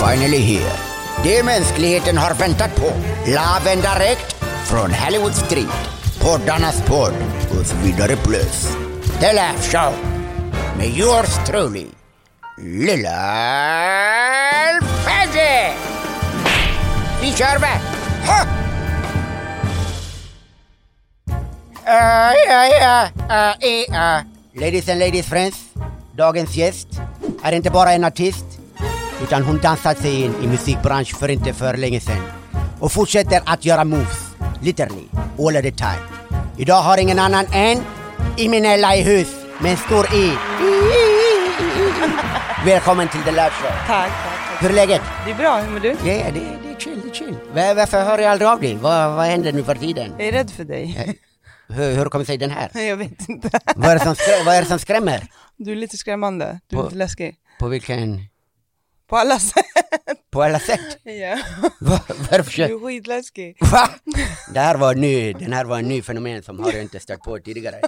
finally here. Det mänskligheten har väntat på. Laven direkt från Hollywood Street. Poddarnas podd och så vidare plus. The Laugh Show. Med yours truly, Lilla Fezzi! Vi kör va! Ha! Uh, ja, ja, uh, eh, uh. Ladies and ladies friends, dagens gäst är inte bara en artist utan hon dansat sig in i musikbranschen för inte för länge sedan och fortsätter att göra moves, literally, all of the time. Idag har ingen annan än Imenella i hus med en stor I. Välkommen till The Love Show. Tack, tack, tack. Hur är läget? Det är bra, hur mår du? Ja, det, det är chill, det är chill. Va- Varför hör jag aldrig av dig? Vad, vad händer nu för tiden? Eh, Jag är rädd för dig. Hur, hur kommer sig den här? Jag vet inte. Vad är, det som skrä- vad är det som skrämmer? Du är lite skrämmande. Du är lite läskig. På vilken? På alla sätt. På alla sätt? Ja. Va- Du Varför? är skitläskig. Va? Det här var ny, den här var en ny fenomen som har jag inte stött på tidigare.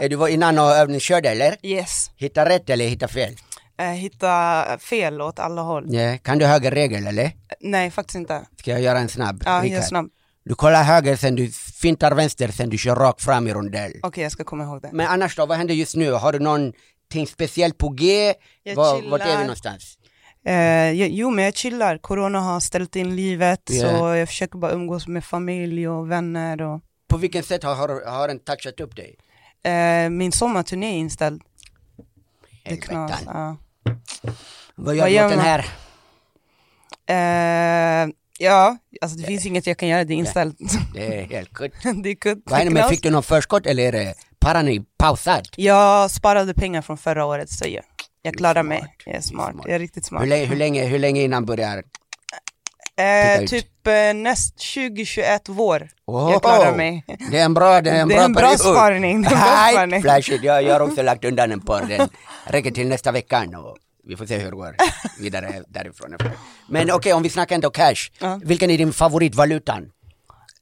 Eh, Du var innan och övningskörde eller? Yes. Hitta rätt eller hitta fel? Eh, hitta fel åt alla håll. Ja, Kan du högerregel eller? Eh, Nej, faktiskt inte. Ska jag göra en snabb? Ja, Rickard? jag är snabb. Du kollar höger sen du fintar vänster sen du kör rakt fram i rondell. Okej, jag ska komma ihåg det. Men annars då, vad händer just nu? Har du någonting speciellt på G? Jag Var, vart är chillar. vi någonstans? Eh, jo- jo, men jag chillar. Corona har ställt in livet, Ja. så jag försöker bara umgås med familj och vänner. Och, På vilken sätt har, har, har den touchat upp dig? eh, min sommarturné är inställd. Det är knas. Helvetan. Ja. Vad gör Vad du gör åt den man? här? Eh, ja, alltså det finns inget jag kan göra, det är inställt. Det är helt kutt. det är kutt. Vad händer med, knas. fick du någon förskott eller är det parani pausad? Jag sparade pengar från förra året så jag, jag klarar mig. Jag är smart. smart. Jag är riktigt smart. Hur länge, hur, länge, hur länge innan börjar? titta Eh, ut? typ eh, näst 2021 vår. Oho! Jag klarar mig. Det är en bra, det är en Det bra, är en bra period. spaning. Det är en bra Nej, spaning. flashigt. Jag, jag har också lagt undan en par. Den räcker till nästa vecka. Och vi får se hur det går vidare därifrån. Men okej, om vi snackar ändå cash. Ja. Vilken är din favoritvalutan?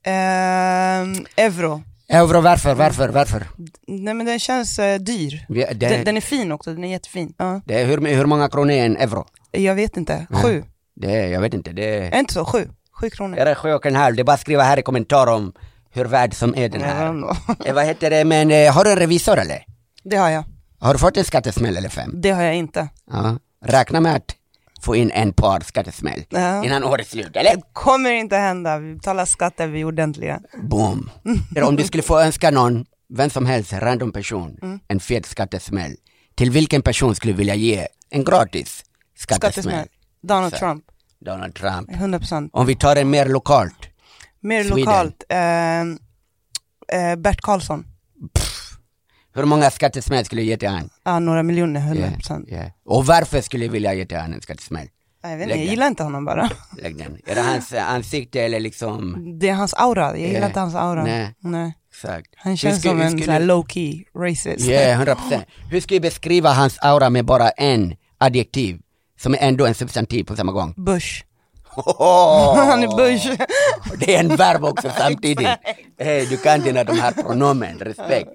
Ehm, euro. Euro, varför, varför, varför? Nej men den känns eh, dyr. Vi- Det, Den, den är fin också, den är jättefin. Ja. det är hur, hur många kronor är en euro? jag vet inte, sju. Det, är- jag vet inte. Det är, Är inte så? Sju? Sju kronor. är det sju och en halv? Det är bara att skriva här i kommentar om hur värd som är den Jag här. vet inte. Eh, vad heter det, men eh, har du en revisor eller? Det har jag. Har du fått en skattesmäll eller fem? Det har jag inte. Ja. Räkna med att få in en par skattesmäll Ja. innan årets slut, eller? Kommer inte hända, vi betalar skatter, vi är ordentliga. Boom. Eller om du skulle få önska någon, vem som helst, en random person, Mm. en fet skattesmäll. Till vilken person skulle du vilja ge en gratis skattesmäll? Skattesmäll. Donald Så. Trump, Donald Trump. 100 procent. Om vi tar en mer lokalt, Mer Sweden. lokalt, ehm, eh, Bert Karlsson. hur många skattesmäll skulle du ge till han? Ja, några miljoner, hundra Ja, procent. ja. Och varför skulle du vilja ge till han en skattesmäll? Jag, vet inte, jag Lägg gillar inte honom bara. Lägg den. Är det hans ansikte eller liksom? Det är hans aura, jag Ja. gillar inte hans aura. Nej. Exakt. Hur Han känns skulle- som hur en skulle- sån här low key racist. Ja, 100%. Hur ska vi beskriva hans aura med bara en adjektiv, som är ändå en substantiv på samma gång? Bush. Hoho! Han är Bush. Det är en verb också samtidigt. Hey, du kan dina de här pronomen, respekt.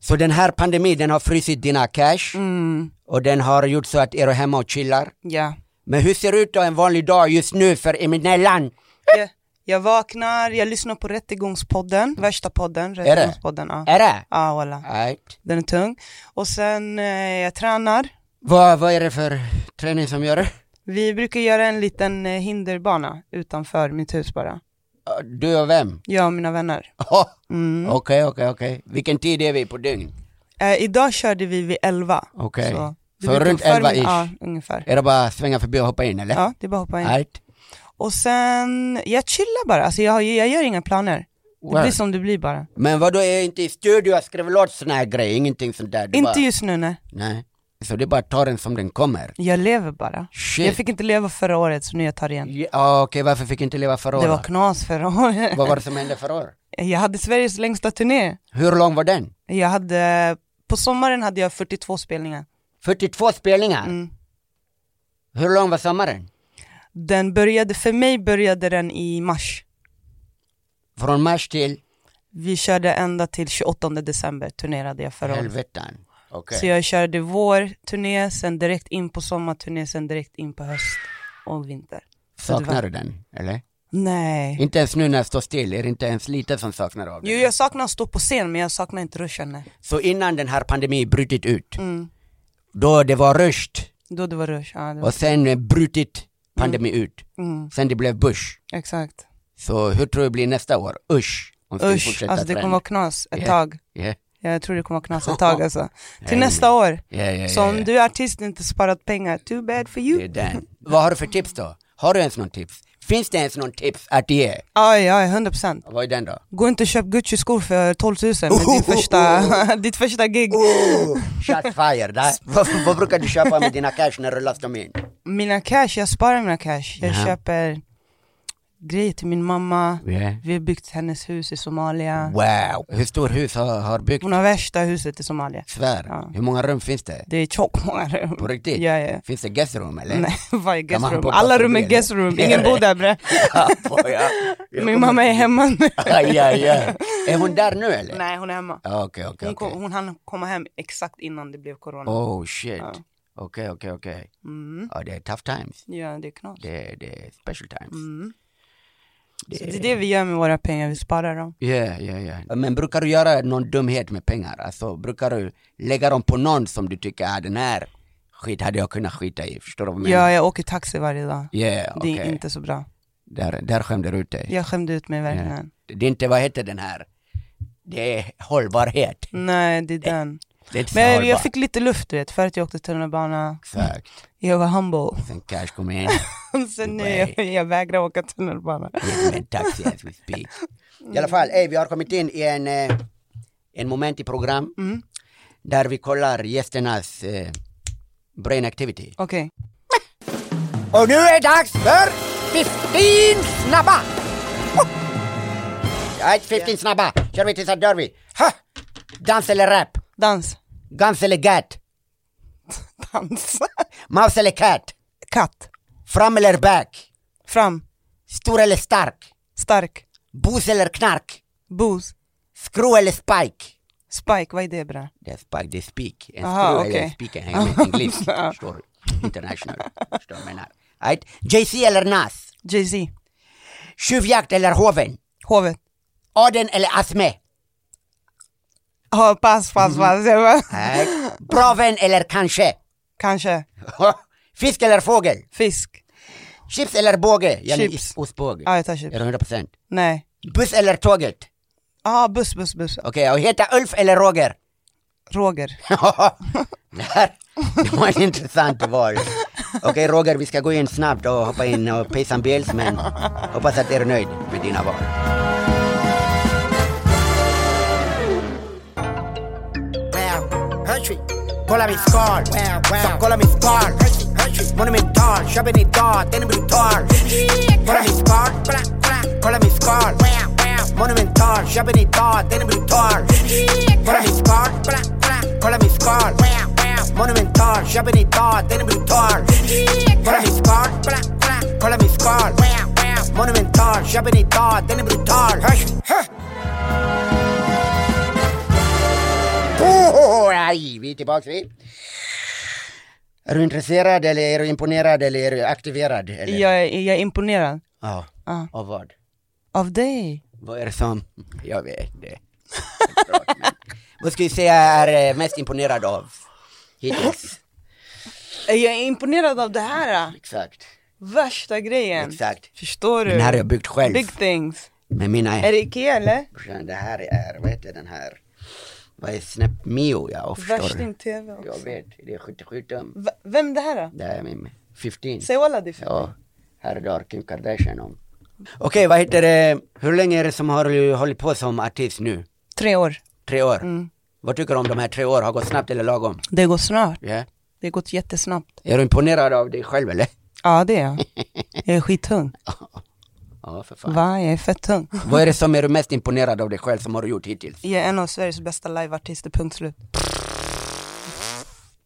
Så den här pandemin, den har frusit dina cash Mm. och den har gjort så att er är hemma och chillar. ja. Men hur ser det ut då en vanlig dag just nu för Eminellan? jag, jag vaknar, jag lyssnar på Rättegångspodden, värsta podden, det? Rättegångspodden. Ja, Är det? ja voilà. Right. den är tung. Och sen eh, jag tränar. Vad, vad är det för träning som gör det? Vi brukar göra en liten eh, hinderbana utanför mitt hus bara. Du och vem? Jag och mina vänner. Åh, Mm. Okej, okej, okej. Vilken tid är vi på dygn? Eh, idag körde vi vid 11. Okej. Så, Så brukar runt förm- 11 -ish. Ja, ungefär. Är det bara att svänga förbi och hoppa in eller? Ja, det är bara att hoppa in. Right. Och sen, jag chillar bara, alltså jag, har ju- jag gör inga planer. Det Word. blir som det blir bara. Men vadå, är inte i studio och skriver låt såna här grejer, ingenting sånt där? Du Inte bara, just nu nej. Nej. Så det är bara att ta den som den kommer? jag lever bara. Shit. Jag fick inte leva förra året så nu jag tar igen. Ja, ah, okej, varför fick jag inte leva förra Det året? var knas förra året. Vad var det som hände förra året? Jag hade Sveriges längsta turné. Hur lång var den? Jag hade, på sommaren hade jag 42 spelningar. 42 spelningar? Mm. Hur lång var sommaren? Den började, för mig började den i mars. Från mars till Vi körde ända till 28 december turnerade jag förra året. helvetan. Okej. Så jag körde vår turné, sen direkt in på sommarturné, sen direkt in på höst. och vinter. Så det Saknar var- du den, eller? Nej. Inte ens nu när jag står still, är det inte ens lite som saknar av Jo, den? jag saknar att stå på scen, men jag saknar inte ruschen. Nej. Så innan den här pandemin brutit ut, Mm. då det var röst Då det var rush. Ja, det var... och sen eh, brutit pandemi ut, Mm. sen det blev Bush. Exakt. Så hur tror du det blir nästa år? Usch! Om vi Usch, fortsätter alltså det trenden. kommer vara knas ett Ja. tag. Ja, Jag tror det kommer vara knas ett tag alltså. Nej, Till nästa år. ja, ja, ja, Så om ja. du är artist och inte sparat pengar, too bad for Det är you. den. Vad har du för tips då? Har du ens någon tips? Finns det ens någon tips att ge? Aj, aj, 100 procent. Vad är den då? Gå inte och köp Gucci-skor för 12 000 med din första, ditt första gig. Oh, shot fire! Där. vad, vad brukar du köpa med dina cash när du lastar dem in? Mina cash, jag sparar mina cash. Jag Ja. köper grejer till min mamma. Ja. Vi har byggt hennes hus i Mm. Somalia. Wow! Hur stor hus har, har byggt? Hon har värsta huset i Somalia. Svär. Mm. Ja. Hur många rum finns det? Det är tjockt många rum. På riktigt? Ja, ja. Finns det guest room eller? Nej, varje guest man room. poppa Alla rum är förbi, guest eller? room, ingen bor där bre. Ja, boja. Jag Min kommer- mamma är hemma nu. Aj, aj, aj. Är hon där nu eller? Nej, hon är hemma. Ja, Okej, okej, Hon, kom, okej. hon hann komma hem exakt innan det blev corona. Oh shit. Ja. Okej, okej, okej. Mm. Ja, det är tough times. Ja, det är knas. Det är, det är special times. Mm. Så det är det vi gör med våra pengar, vi sparar dem. Ja, ja, ja. Men brukar du göra någon dumhet med pengar? Alltså, brukar du lägga dem på någon som du tycker, ah, den här skit hade jag kunnat skita i? Förstår du vad jag menar? Ja, jag åker taxi varje dag. Ja, Det är okej. inte så bra. Där, där skämde du ut dig. Jag skämde ut mig verkligen. Det är inte, vad heter den här? Det är hållbarhet. Nej, det är den. Det är inte så Men jag hållbart. fick lite luft du vet, förut jag åkte tunnelbana. Exakt. Jag var humble. Sen Cash kom in, Så nu jag, jag vägrar åka tunnelbana. gick med en taxi as we speak. I alla fall, ey, vi har kommit in i en, eh, en moment i program Mm. där vi kollar gästernas eh, brain activity. Okej. Och nu är det dags för 15 snabba! Oh! Ja, 15 snabba, kör vi tills att dör vi. Ha! Dans eller rap? Dans. Gans eller gat? Dans. Mouse eller cat? Katt. Fram eller back? Fram. Stor eller stark? Stark. Bus eller knark? Booze. Skruv eller spike? Spike, vad är det bre? Det är spike, det är spik. En Aha, skruv okej. eller en spik är hemligt engelskt. Förstår du? International. Förstår du vad jag menar? Right? JC eller Nas? Jay-Z. Tjuvjakt eller hoven? Hovet. Aden eller Asme? Ja, pass, Mm. pass, pass. Jag bara, Right? Bra vän eller kanske? kanske. Fisk eller fågel? Fisk. Chips eller båge? Jenny, Chips. Ostbåge. Ja, jag tar Är chips. det 100 procent? Nej. Buss eller tåget? Ja, ah, buss, buss, buss. Okej, och heta Ulf eller Roger? Roger. det, här, det var en intressant val. Okej Roger, vi ska gå in snabbt och hoppa in och pay some bills men hoppas att du är nöjd med dina val. Kolla min skal, så kolla min skal Monumental, köper ni dag, den är brutal Kolla min skal, kolla min skal Monumental, köper ni dag, den är brutal Kolla min skal, kolla min skal Monumental, köper ni dag, den är brutal Kolla min skal, kolla min skal Monumental, köper ni dag, den är brutal Oh, aj, vi är tillbaka vi. Är du intresserad eller är du imponerad eller är du aktiverad? Eller? Jag, är- jag är imponerad. Ja. Ja. Av vad? Av dig. Vad är det som... Jag vet det. Vad ska vi säga är eh, mest imponerad av hittills? Jag är imponerad av det här. Exakt. Värsta grejen. Exakt. Förstår du? Den här har jag byggt själv Big things. med mina... Är det Ikea eller? Det här är, vad heter den här? Vad är Snap Mio? Ja, förstår du? Värsting-tv också. Jag vet, det är 77 tum. V- vem är det här då? Det är min 15. Säg walla det för Ja, här drar Kim Kardashian om. Okej, vad heter det? Hur länge är det som har du hållit på som artist nu? Tre år. Tre år? Mm. Vad tycker du om de här tre år? Har gått snabbt eller lagom? Det går snabbt. Ja. Det har gått jättesnabbt. Är du imponerad av dig själv eller? Ja det är jag. Jag är skittung. Ja, för fan. Va? Jag är fett tung. Vad är det som är du mest imponerad av dig själv som har du gjort hittills? Jag är en av Sveriges bästa liveartister, punkt slut.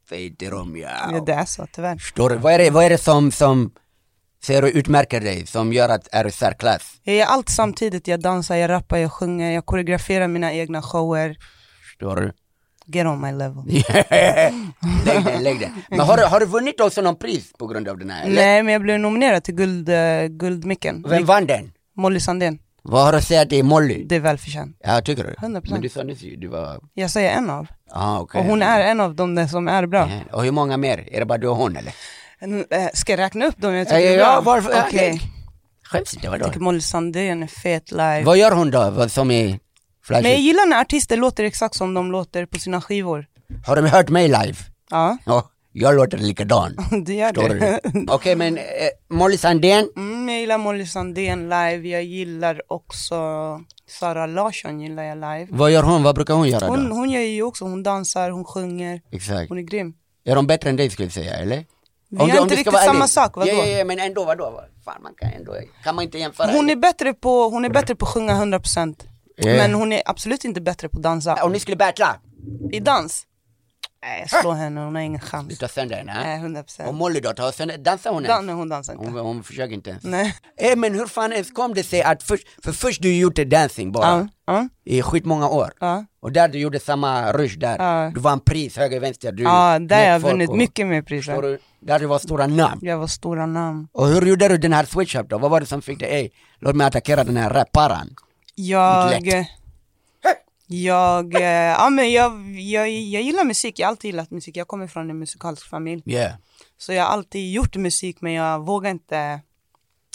Fejderom Ja, ja. det är så tyvärr. Förstår du? Vad är det, vad är det som, som ser du utmärker dig, som gör att är du särklass? Jag gör allt samtidigt. Jag dansar, jag rappar, jag sjunger, jag koreograferar mina egna shower. Förstår du? Get on my level. lägg den, lägg den. Men har, du- har du vunnit också någon pris på grund av den här? eller? Nej, men jag blev nominerad till guld, eh, Guldmicken. Vem vann den? Molly Sandén. Vad har du att säga till Molly? Det är välförtjänt. Ja, tycker du? 100%. Men du sa nyss ju, du var... Jag säger en av. Ah, okay. Och hon är en av dem där som är bra. Ja, Och hur många mer? Är det bara du och hon eller? N- eh, Ska jag räkna upp dem jag Ja, tycker är ja, bra? ja, varför- ja, Okej. lägg. Skäms inte, vadå? Jag tycker Molly Sandén är fet live. Vad gör hon då, vad som är Men jag flashigt? gillar när artister låter exakt som de låter på sina skivor. Har du hört mig live? Ja, Ja, jag låter likadan. det gör Förstår du? det. Okej, men eh, Molly Sandén? Mm, jag gillar Molly Sandén live, jag gillar också Sara Larsson gillar jag live. Vad gör hon? Vad brukar hon göra då? Hon, hon gör ju också, hon dansar, hon sjunger, Exakt. hon är grym. Är de bättre än dig skulle jag säga, eller? Vi gör inte riktigt samma sak, vadå? Ja, ja, ja, men ändå, vadå? Fan, man kan ändå... Kan man inte jämföra? Hon är bättre på, hon är bättre på att sjunga 100% Yeah. Men hon är absolut inte bättre på att dansa. Om ni skulle battla? I dans? Nej, jag slår henne, hon har ingen Du chans. tar sönder henne? eh? Nej, 100% Och procent. Molly då? Tar sönder, dansar hon ens? Nej, hon dansar inte. Hon, hon försöker inte ens. Nej. Eh, men hur fan ens kom det sig att först, för först du gjorde dancing bara, Ja, ja, i skitmånga år. ja. Och där du gjorde samma rush där, Ja. du vann pris höger vänster, du Ja, där har jag knöt folk vunnit och- mycket mer förstår priser. du, Där du var stora namn. Jag var stora namn. Och hur gjorde du den här switch up då? Vad var det som fick dig, ey, låt mig attackera den här rapparen. Jag... Lätt. Jag, eh, ja, men jag, jag, jag gillar musik, jag har alltid gillat musik. Jag kommer från en musikalsk familj. Yeah. Så jag har alltid gjort musik men jag vågar inte.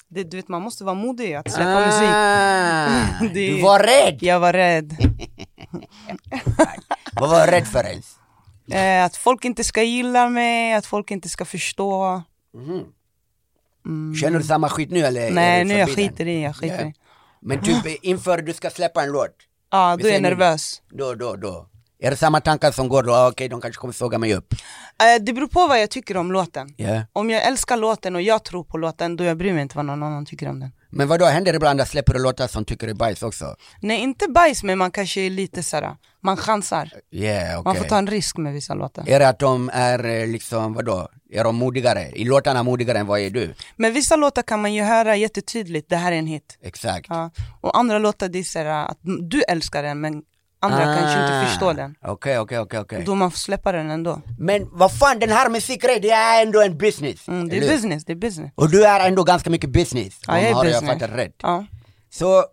Det, du vet man måste vara modig att släppa musik. Ah, Det- Du var rädd! Jag var rädd Vad var du rädd för ens? eh, att folk inte ska gilla mig, att folk inte ska förstå. Känner du samma skit nu eller? är Nej det nu jag förbi den? skiter i, jag skiter Yeah. i. Men typ inför du ska släppa en låt, Ja, Vi då är jag säger nu. nervös. då, då, då. Är det samma tankar som går då? Ah, Okej, de kanske kommer såga mig upp. Eh, det beror på vad jag tycker om låten. Yeah. Om jag älskar låten och jag tror på låten, då jag bryr mig inte vad någon annan tycker om den. Men vad då händer det ibland att släpper du låtar som tycker det är bajs också? Nej inte bajs men man kanske är lite såhär, man chansar. Yeah, Man okej. får ta en risk med vissa låtar. Är det att de är eh, liksom, vadå, är de modigare? I låtarna modigare än vad är du? Men vissa låtar kan man ju höra jättetydligt, det här är en hit. Exakt. Ja. Och andra låtar det är så här, att du älskar den men andra Ah. kanske inte förstår den. Okej, okej, okej. okej. Då man får släppa den ändå. Men vad fan, den här musikgrejen, det är ändå en business. Mm, det eller är hur? business, det är business. Och du är ändå ganska mycket e business, Ja, jag är har e business. jag fattat rätt. Ja, Så,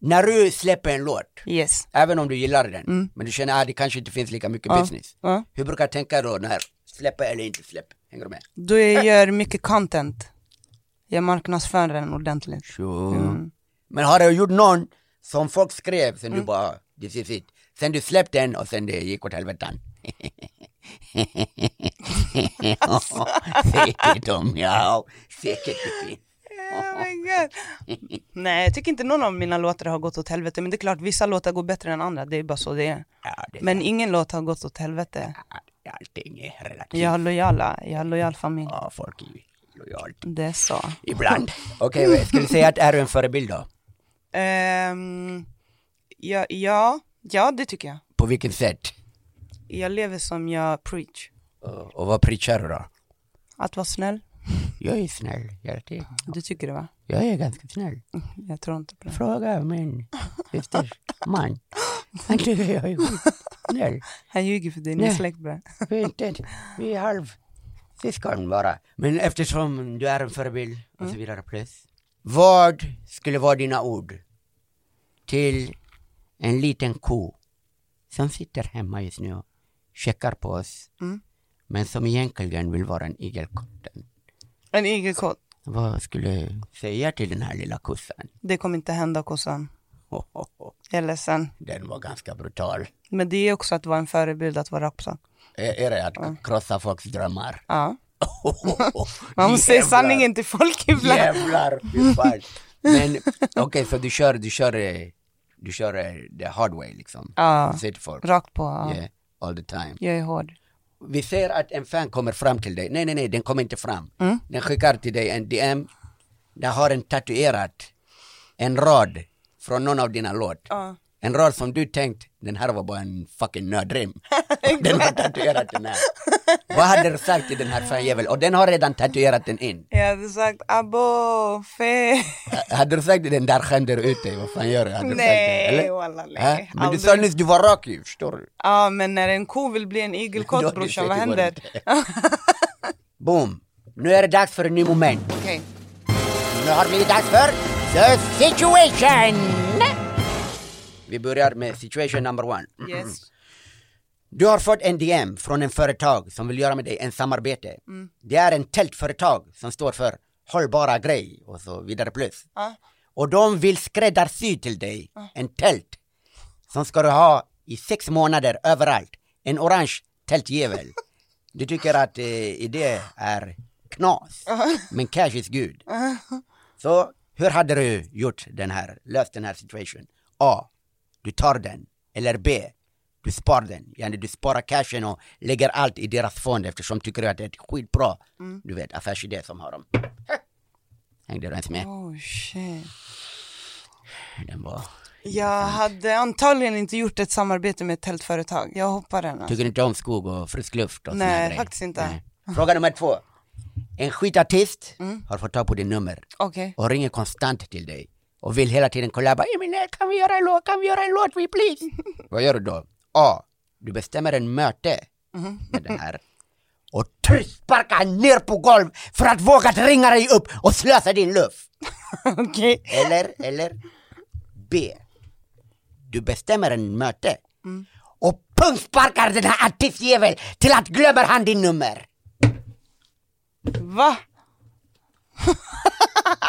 när du släpper en låt, yes. även om du gillar den, Mm. men du känner att ah, det kanske inte finns lika mycket Ja. business. Ja. Hur brukar jag tänka då, när släppa eller inte släppa? Hänger du med? Då jag gör mycket content. Jag marknadsför den ordentligt. Sure. Men har du gjort någon som folk skrev sen du bara, this is it. Sen du släppte den och sen det gick åt helvetan. Säkert om ja, säkert det finns. Oh my God. Nej, jag tycker inte någon av mina låtar har gått åt helvete. Men det är klart, vissa låtar går bättre än andra. Det är bara så det är. Ja, det, Men ingen låt har gått åt helvete. allting är relativt. Jag har lojala, jag har lojal familj. Ja, folk är lojalt. Det är så. Ibland. Okej, ska du säga att är du en förebild då? Ehm, ja, ja, ja, det tycker jag. På vilket sätt? Jag lever som jag preach. Och, och vad preachar du då? Att vara snäll. Jag är snäll, jag är, Du tycker det va? jag är ganska snäll. Jag tror inte på det. Fråga min systers man. Han tycker jag är skitsnäll. Han ljuger för dig, ni är Nej. släkt bara. Vi är inte, vi är halv syskon bara. Men eftersom du är en förebild och så vidare plus. Vad skulle vara dina ord till en liten ko som sitter hemma just nu och checkar på oss Mm. men som egentligen vill vara en igelkotten. En igelkott. Vad skulle du säga till den här lilla kossan? Det kommer inte hända kossan. Ho, ho, ho. Jag är ledsen. Den var ganska brutal. Men det är också att vara en förebild, att vara rapsa. Är, är det att krossa folks drömmar? Ja. Man måste säga Jävlar. sanningen till folk ibland. Jävlar, fy fan. Men okej, så du kör, du kör, eh, du kör eh, the hard way liksom. Ja. Du säger till folk, Rakt på. Ja. yeah, all the time. Jag är hård. Vi ser att en fan kommer fram till dig. Nej, nej, nej, den kommer inte fram. Mm. Den skickar till dig en DM. Där har en tatuerat en rad från någon av dina låt. Ja. En roll som du tänkt, den här var bara en fucking nördrim. Och den har tatuerat den här. Vad hade du sagt till den här fanjäveln? Och den har redan tatuerat den in. Jag hade sagt abo, fe. H- Hade du sagt till den där skämde du ut dig, vad fan gör du? Hade du sagt Nej, det, eller? wallah, nej. Ha? Men du Aldrig. sa nyss, du var rak ju, förstår du? Ja men när en ko vill bli en Då har igelkott du brorsan, sett vad det går händer? inte. Boom. Nu är det dags för en ny moment. Okej. Nu har det blivit dags för The Situation! Vi börjar med situation number one. Yes. Du har fått en DM från en företag som vill göra med dig en samarbete. Mm. Det är en tältföretag som står för hållbara grej och så vidare plus. Ja. Och de vill skräddarsy till dig en tält som ska du ha i sex månader överallt. En orange tältjävel. Du tycker att eh, idé är knas, men cash is good. Så hur hade du gjort den här, löst den här situationen? A. Du tar den. Eller B. Du spar den. Yani du sparar cashen och lägger allt i deras fond eftersom tycker du att det är ett skitbra, du vet, affärsidé som har dem. Hängde du ens med? Oh shit. Den var... Jag hade antagligen inte gjort ett samarbete med ett tältföretag. Jag hoppar den. alltså. Tycker inte om skog och frisk luft och såna Nej, grejer. faktiskt inte. Fråga nummer två. En skitartist Mm. har fått tag på din nummer Okej. och ringer konstant till dig och vill hela tiden kollaba. Emil, kan vi göra en låt? Kan vi göra en låt? We please? Vad gör du då? A. Du bestämmer en möte Mm-hmm. med den här och sparkar ner på golv för att våga ringa dig upp och slösa din luft. Okej. Eller, eller B. Du bestämmer en möte Mm. och pungsparkar den här artistjäveln till att glömmer han din nummer. Va? Jag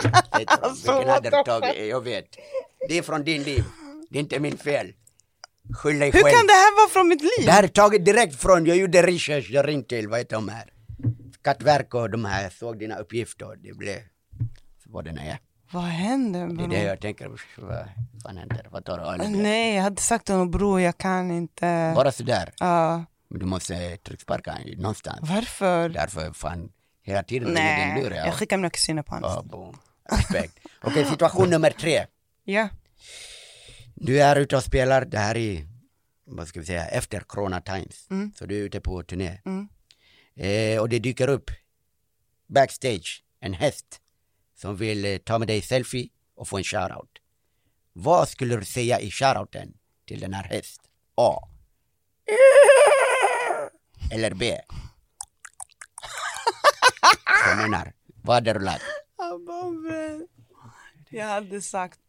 tror, Vilken Alltså, what hade the du tagit? Jag vet. Det är från din liv. Det är inte min fel. Skyll dig Hur själv. kan det här vara från mitt liv? Det här är taget direkt från, jag gjorde research, jag ringde till, vad heter de här? Skatteverket och de här, såg dina uppgifter och det blev vad det är. Vad händer Det är bror? det jag tänker, usch, vad fan händer? Vad tar du? Äh, alibi? Nej, jag hade sagt till honom bror jag kan inte. Bara sådär. Ja. Men du måste trycksparka han någonstans. varför? Därför fan, hela tiden ringer din Nej, lur. jag Ja. skickar mina kusiner på honom. Ja, Oh, boom. Respekt. Okej, situation nummer tre. Ja. Du är ute och spelar, det här är, vad ska vi säga, efter Corona Times. Så du är ute på turné. Mm. Eh, och det dyker upp, backstage, en häst som vill eh, ta med dig selfie och få en shoutout. Vad skulle du säga i shoutouten till den här häst? A. Eller B. Jag menar, vad hade du lagt? Jag hade sagt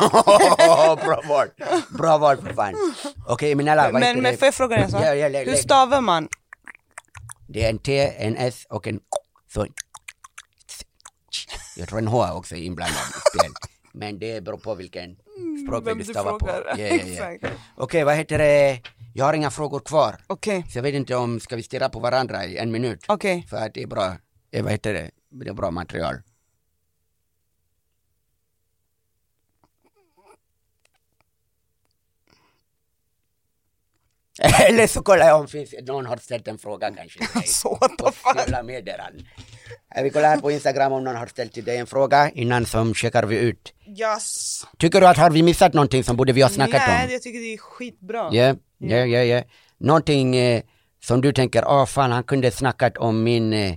bra val, bra val för fan. Okej, men alla, vad heter Men, men det? får jag fråga dig en sak? Ja, ja, lägg, Hur lägg. stavar man? Det är en T, en S och en K. Så. Jag tror en H är också inblandad i spel. Men det beror på vilken språkväg Mm, vem du du stavar på. frågar. Ja, ja, ja. Exakt. Okej, vad heter det? Jag har inga frågor kvar. Okej, Så jag vet inte om, ska vi stirra på varandra i en minut? okej. För att det är bra, eh, vad heter det? Det är bra material. Eller så kollar jag om finns, någon har ställt en fråga kanske till dig. Så what the fuck? Jävla meddelande. Eh, Vi kollar här på Instagram om någon har ställt till dig en fråga innan som checkar vi ut. Yes. Tycker du att har vi missat någonting som borde vi ha snackat om? Nej, jag tycker det är skitbra. Ja, ja, ja, ja. Någonting eh, som du tänker, ah fan han kunde snackat om min eh,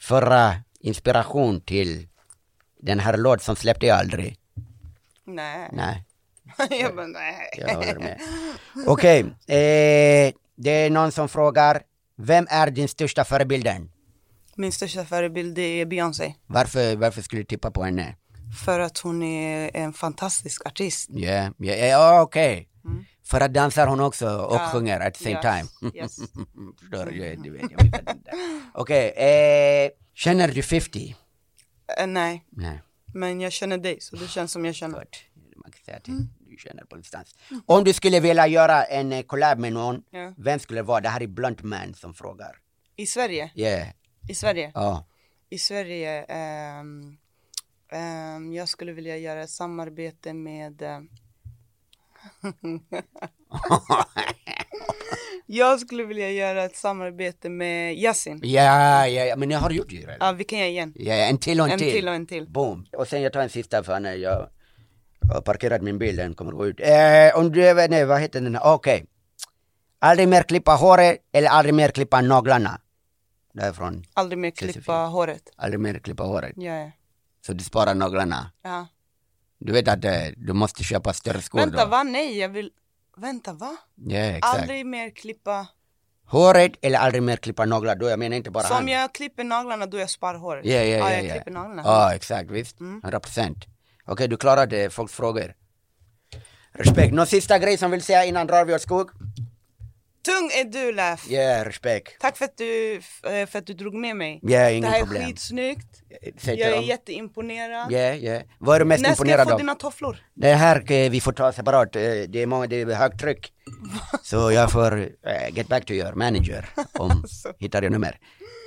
förra inspiration till den här låt som släppte jag aldrig. Nej. Nej, jag bara, nej. jag håller med. Okej, eh, det är någon som frågar, vem är din största förebilden? Min största förebild det är Beyoncé. Varför, varför skulle du tippa på henne? För att hon är en fantastisk artist. Ja, ja, ja okej. oh, För att dansar hon också och Ja. sjunger at the same Yes, time. Mm, yes. Förstår du? Jag- du vet, jag vet inte. Okej, eh, känner du 50? Eh, nej, Nej. men jag känner dig så det känns som jag känner. Gott. Man kan säga att du känner på distans. Om du skulle vilja göra en eh, collab med någon, Ja. vem skulle det vara? Det här är Blunt Man som frågar. I Sverige? Yeah. I Sverige? Ja. I Sverige, ehm, ehm, jag skulle vilja göra ett samarbete med ehm, Jag skulle vilja göra ett samarbete med Yasin. Ja, ja, ja, men jag har gjort det redan. Ja, vi kan göra igen. Ja, en till och en, En till och en till. Boom. Och sen jag tar en sista för när jag Jag har parkerat min bil, den kommer gå ut. Eh, om du, nej vad heter den? här? Okej. Aldrig mer klippa håret eller aldrig mer klippa naglarna. Därifrån. Aldrig mer klippa Josefin. håret. Aldrig mer klippa håret. Ja, ja. Så du sparar naglarna. ja. Du vet att eh, du måste köpa större skor Vänta, då. va? Nej, jag vill... Vänta, va? Ja, exakt. Aldrig mer klippa... Håret eller aldrig mer klippa naglar. Då jag menar inte bara Som hand. jag klipper naglarna då jag spar håret. Ja, ja, ja, ja. jag Ja, klipper naglarna. Mm. Ja, exakt. Visst. 100 procent. Okej, du klarade folks frågor. Respekt. Någon sista grej som vill säga innan drar vi åt skog? Tung är du, Lef. Ja, respekt. Tack för att, du, f- eh, för att du drog med mig. Ja, inget det här är problem. skitsnyggt. Säg till Jag är dem. jätteimponerad. Ja, ja. Vad är du mest När ska jag imponerad få av? dina tofflor? Det här eh, vi får ta separat. eh, Det är, många, det är högt tryck. Så jag får eh, get back to your manager om Alltså. hittar jag nummer.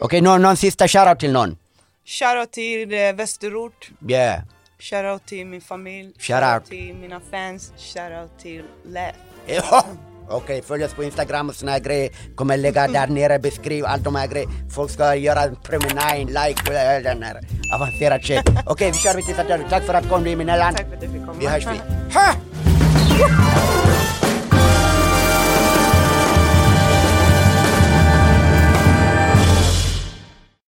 Okej, någon, någon sista shoutout till någon? Shoutout till eh, Västerort. Ja. Yeah. Shoutout till min familj. Shout out. till mina fans. Shoutout till Lef. Ja. Eh, Okej, följ oss på Instagram och såna här grejer. Kommer lägga där nere, beskriv allt de här grejer. Folk ska göra en prenumeration, like, och eh, den här avancerad shit. Okej, vi kör vi till Saturday. Tack för att du kom, du är min Elan. Tack för att du fick komma. Vi hörs vi. Ha!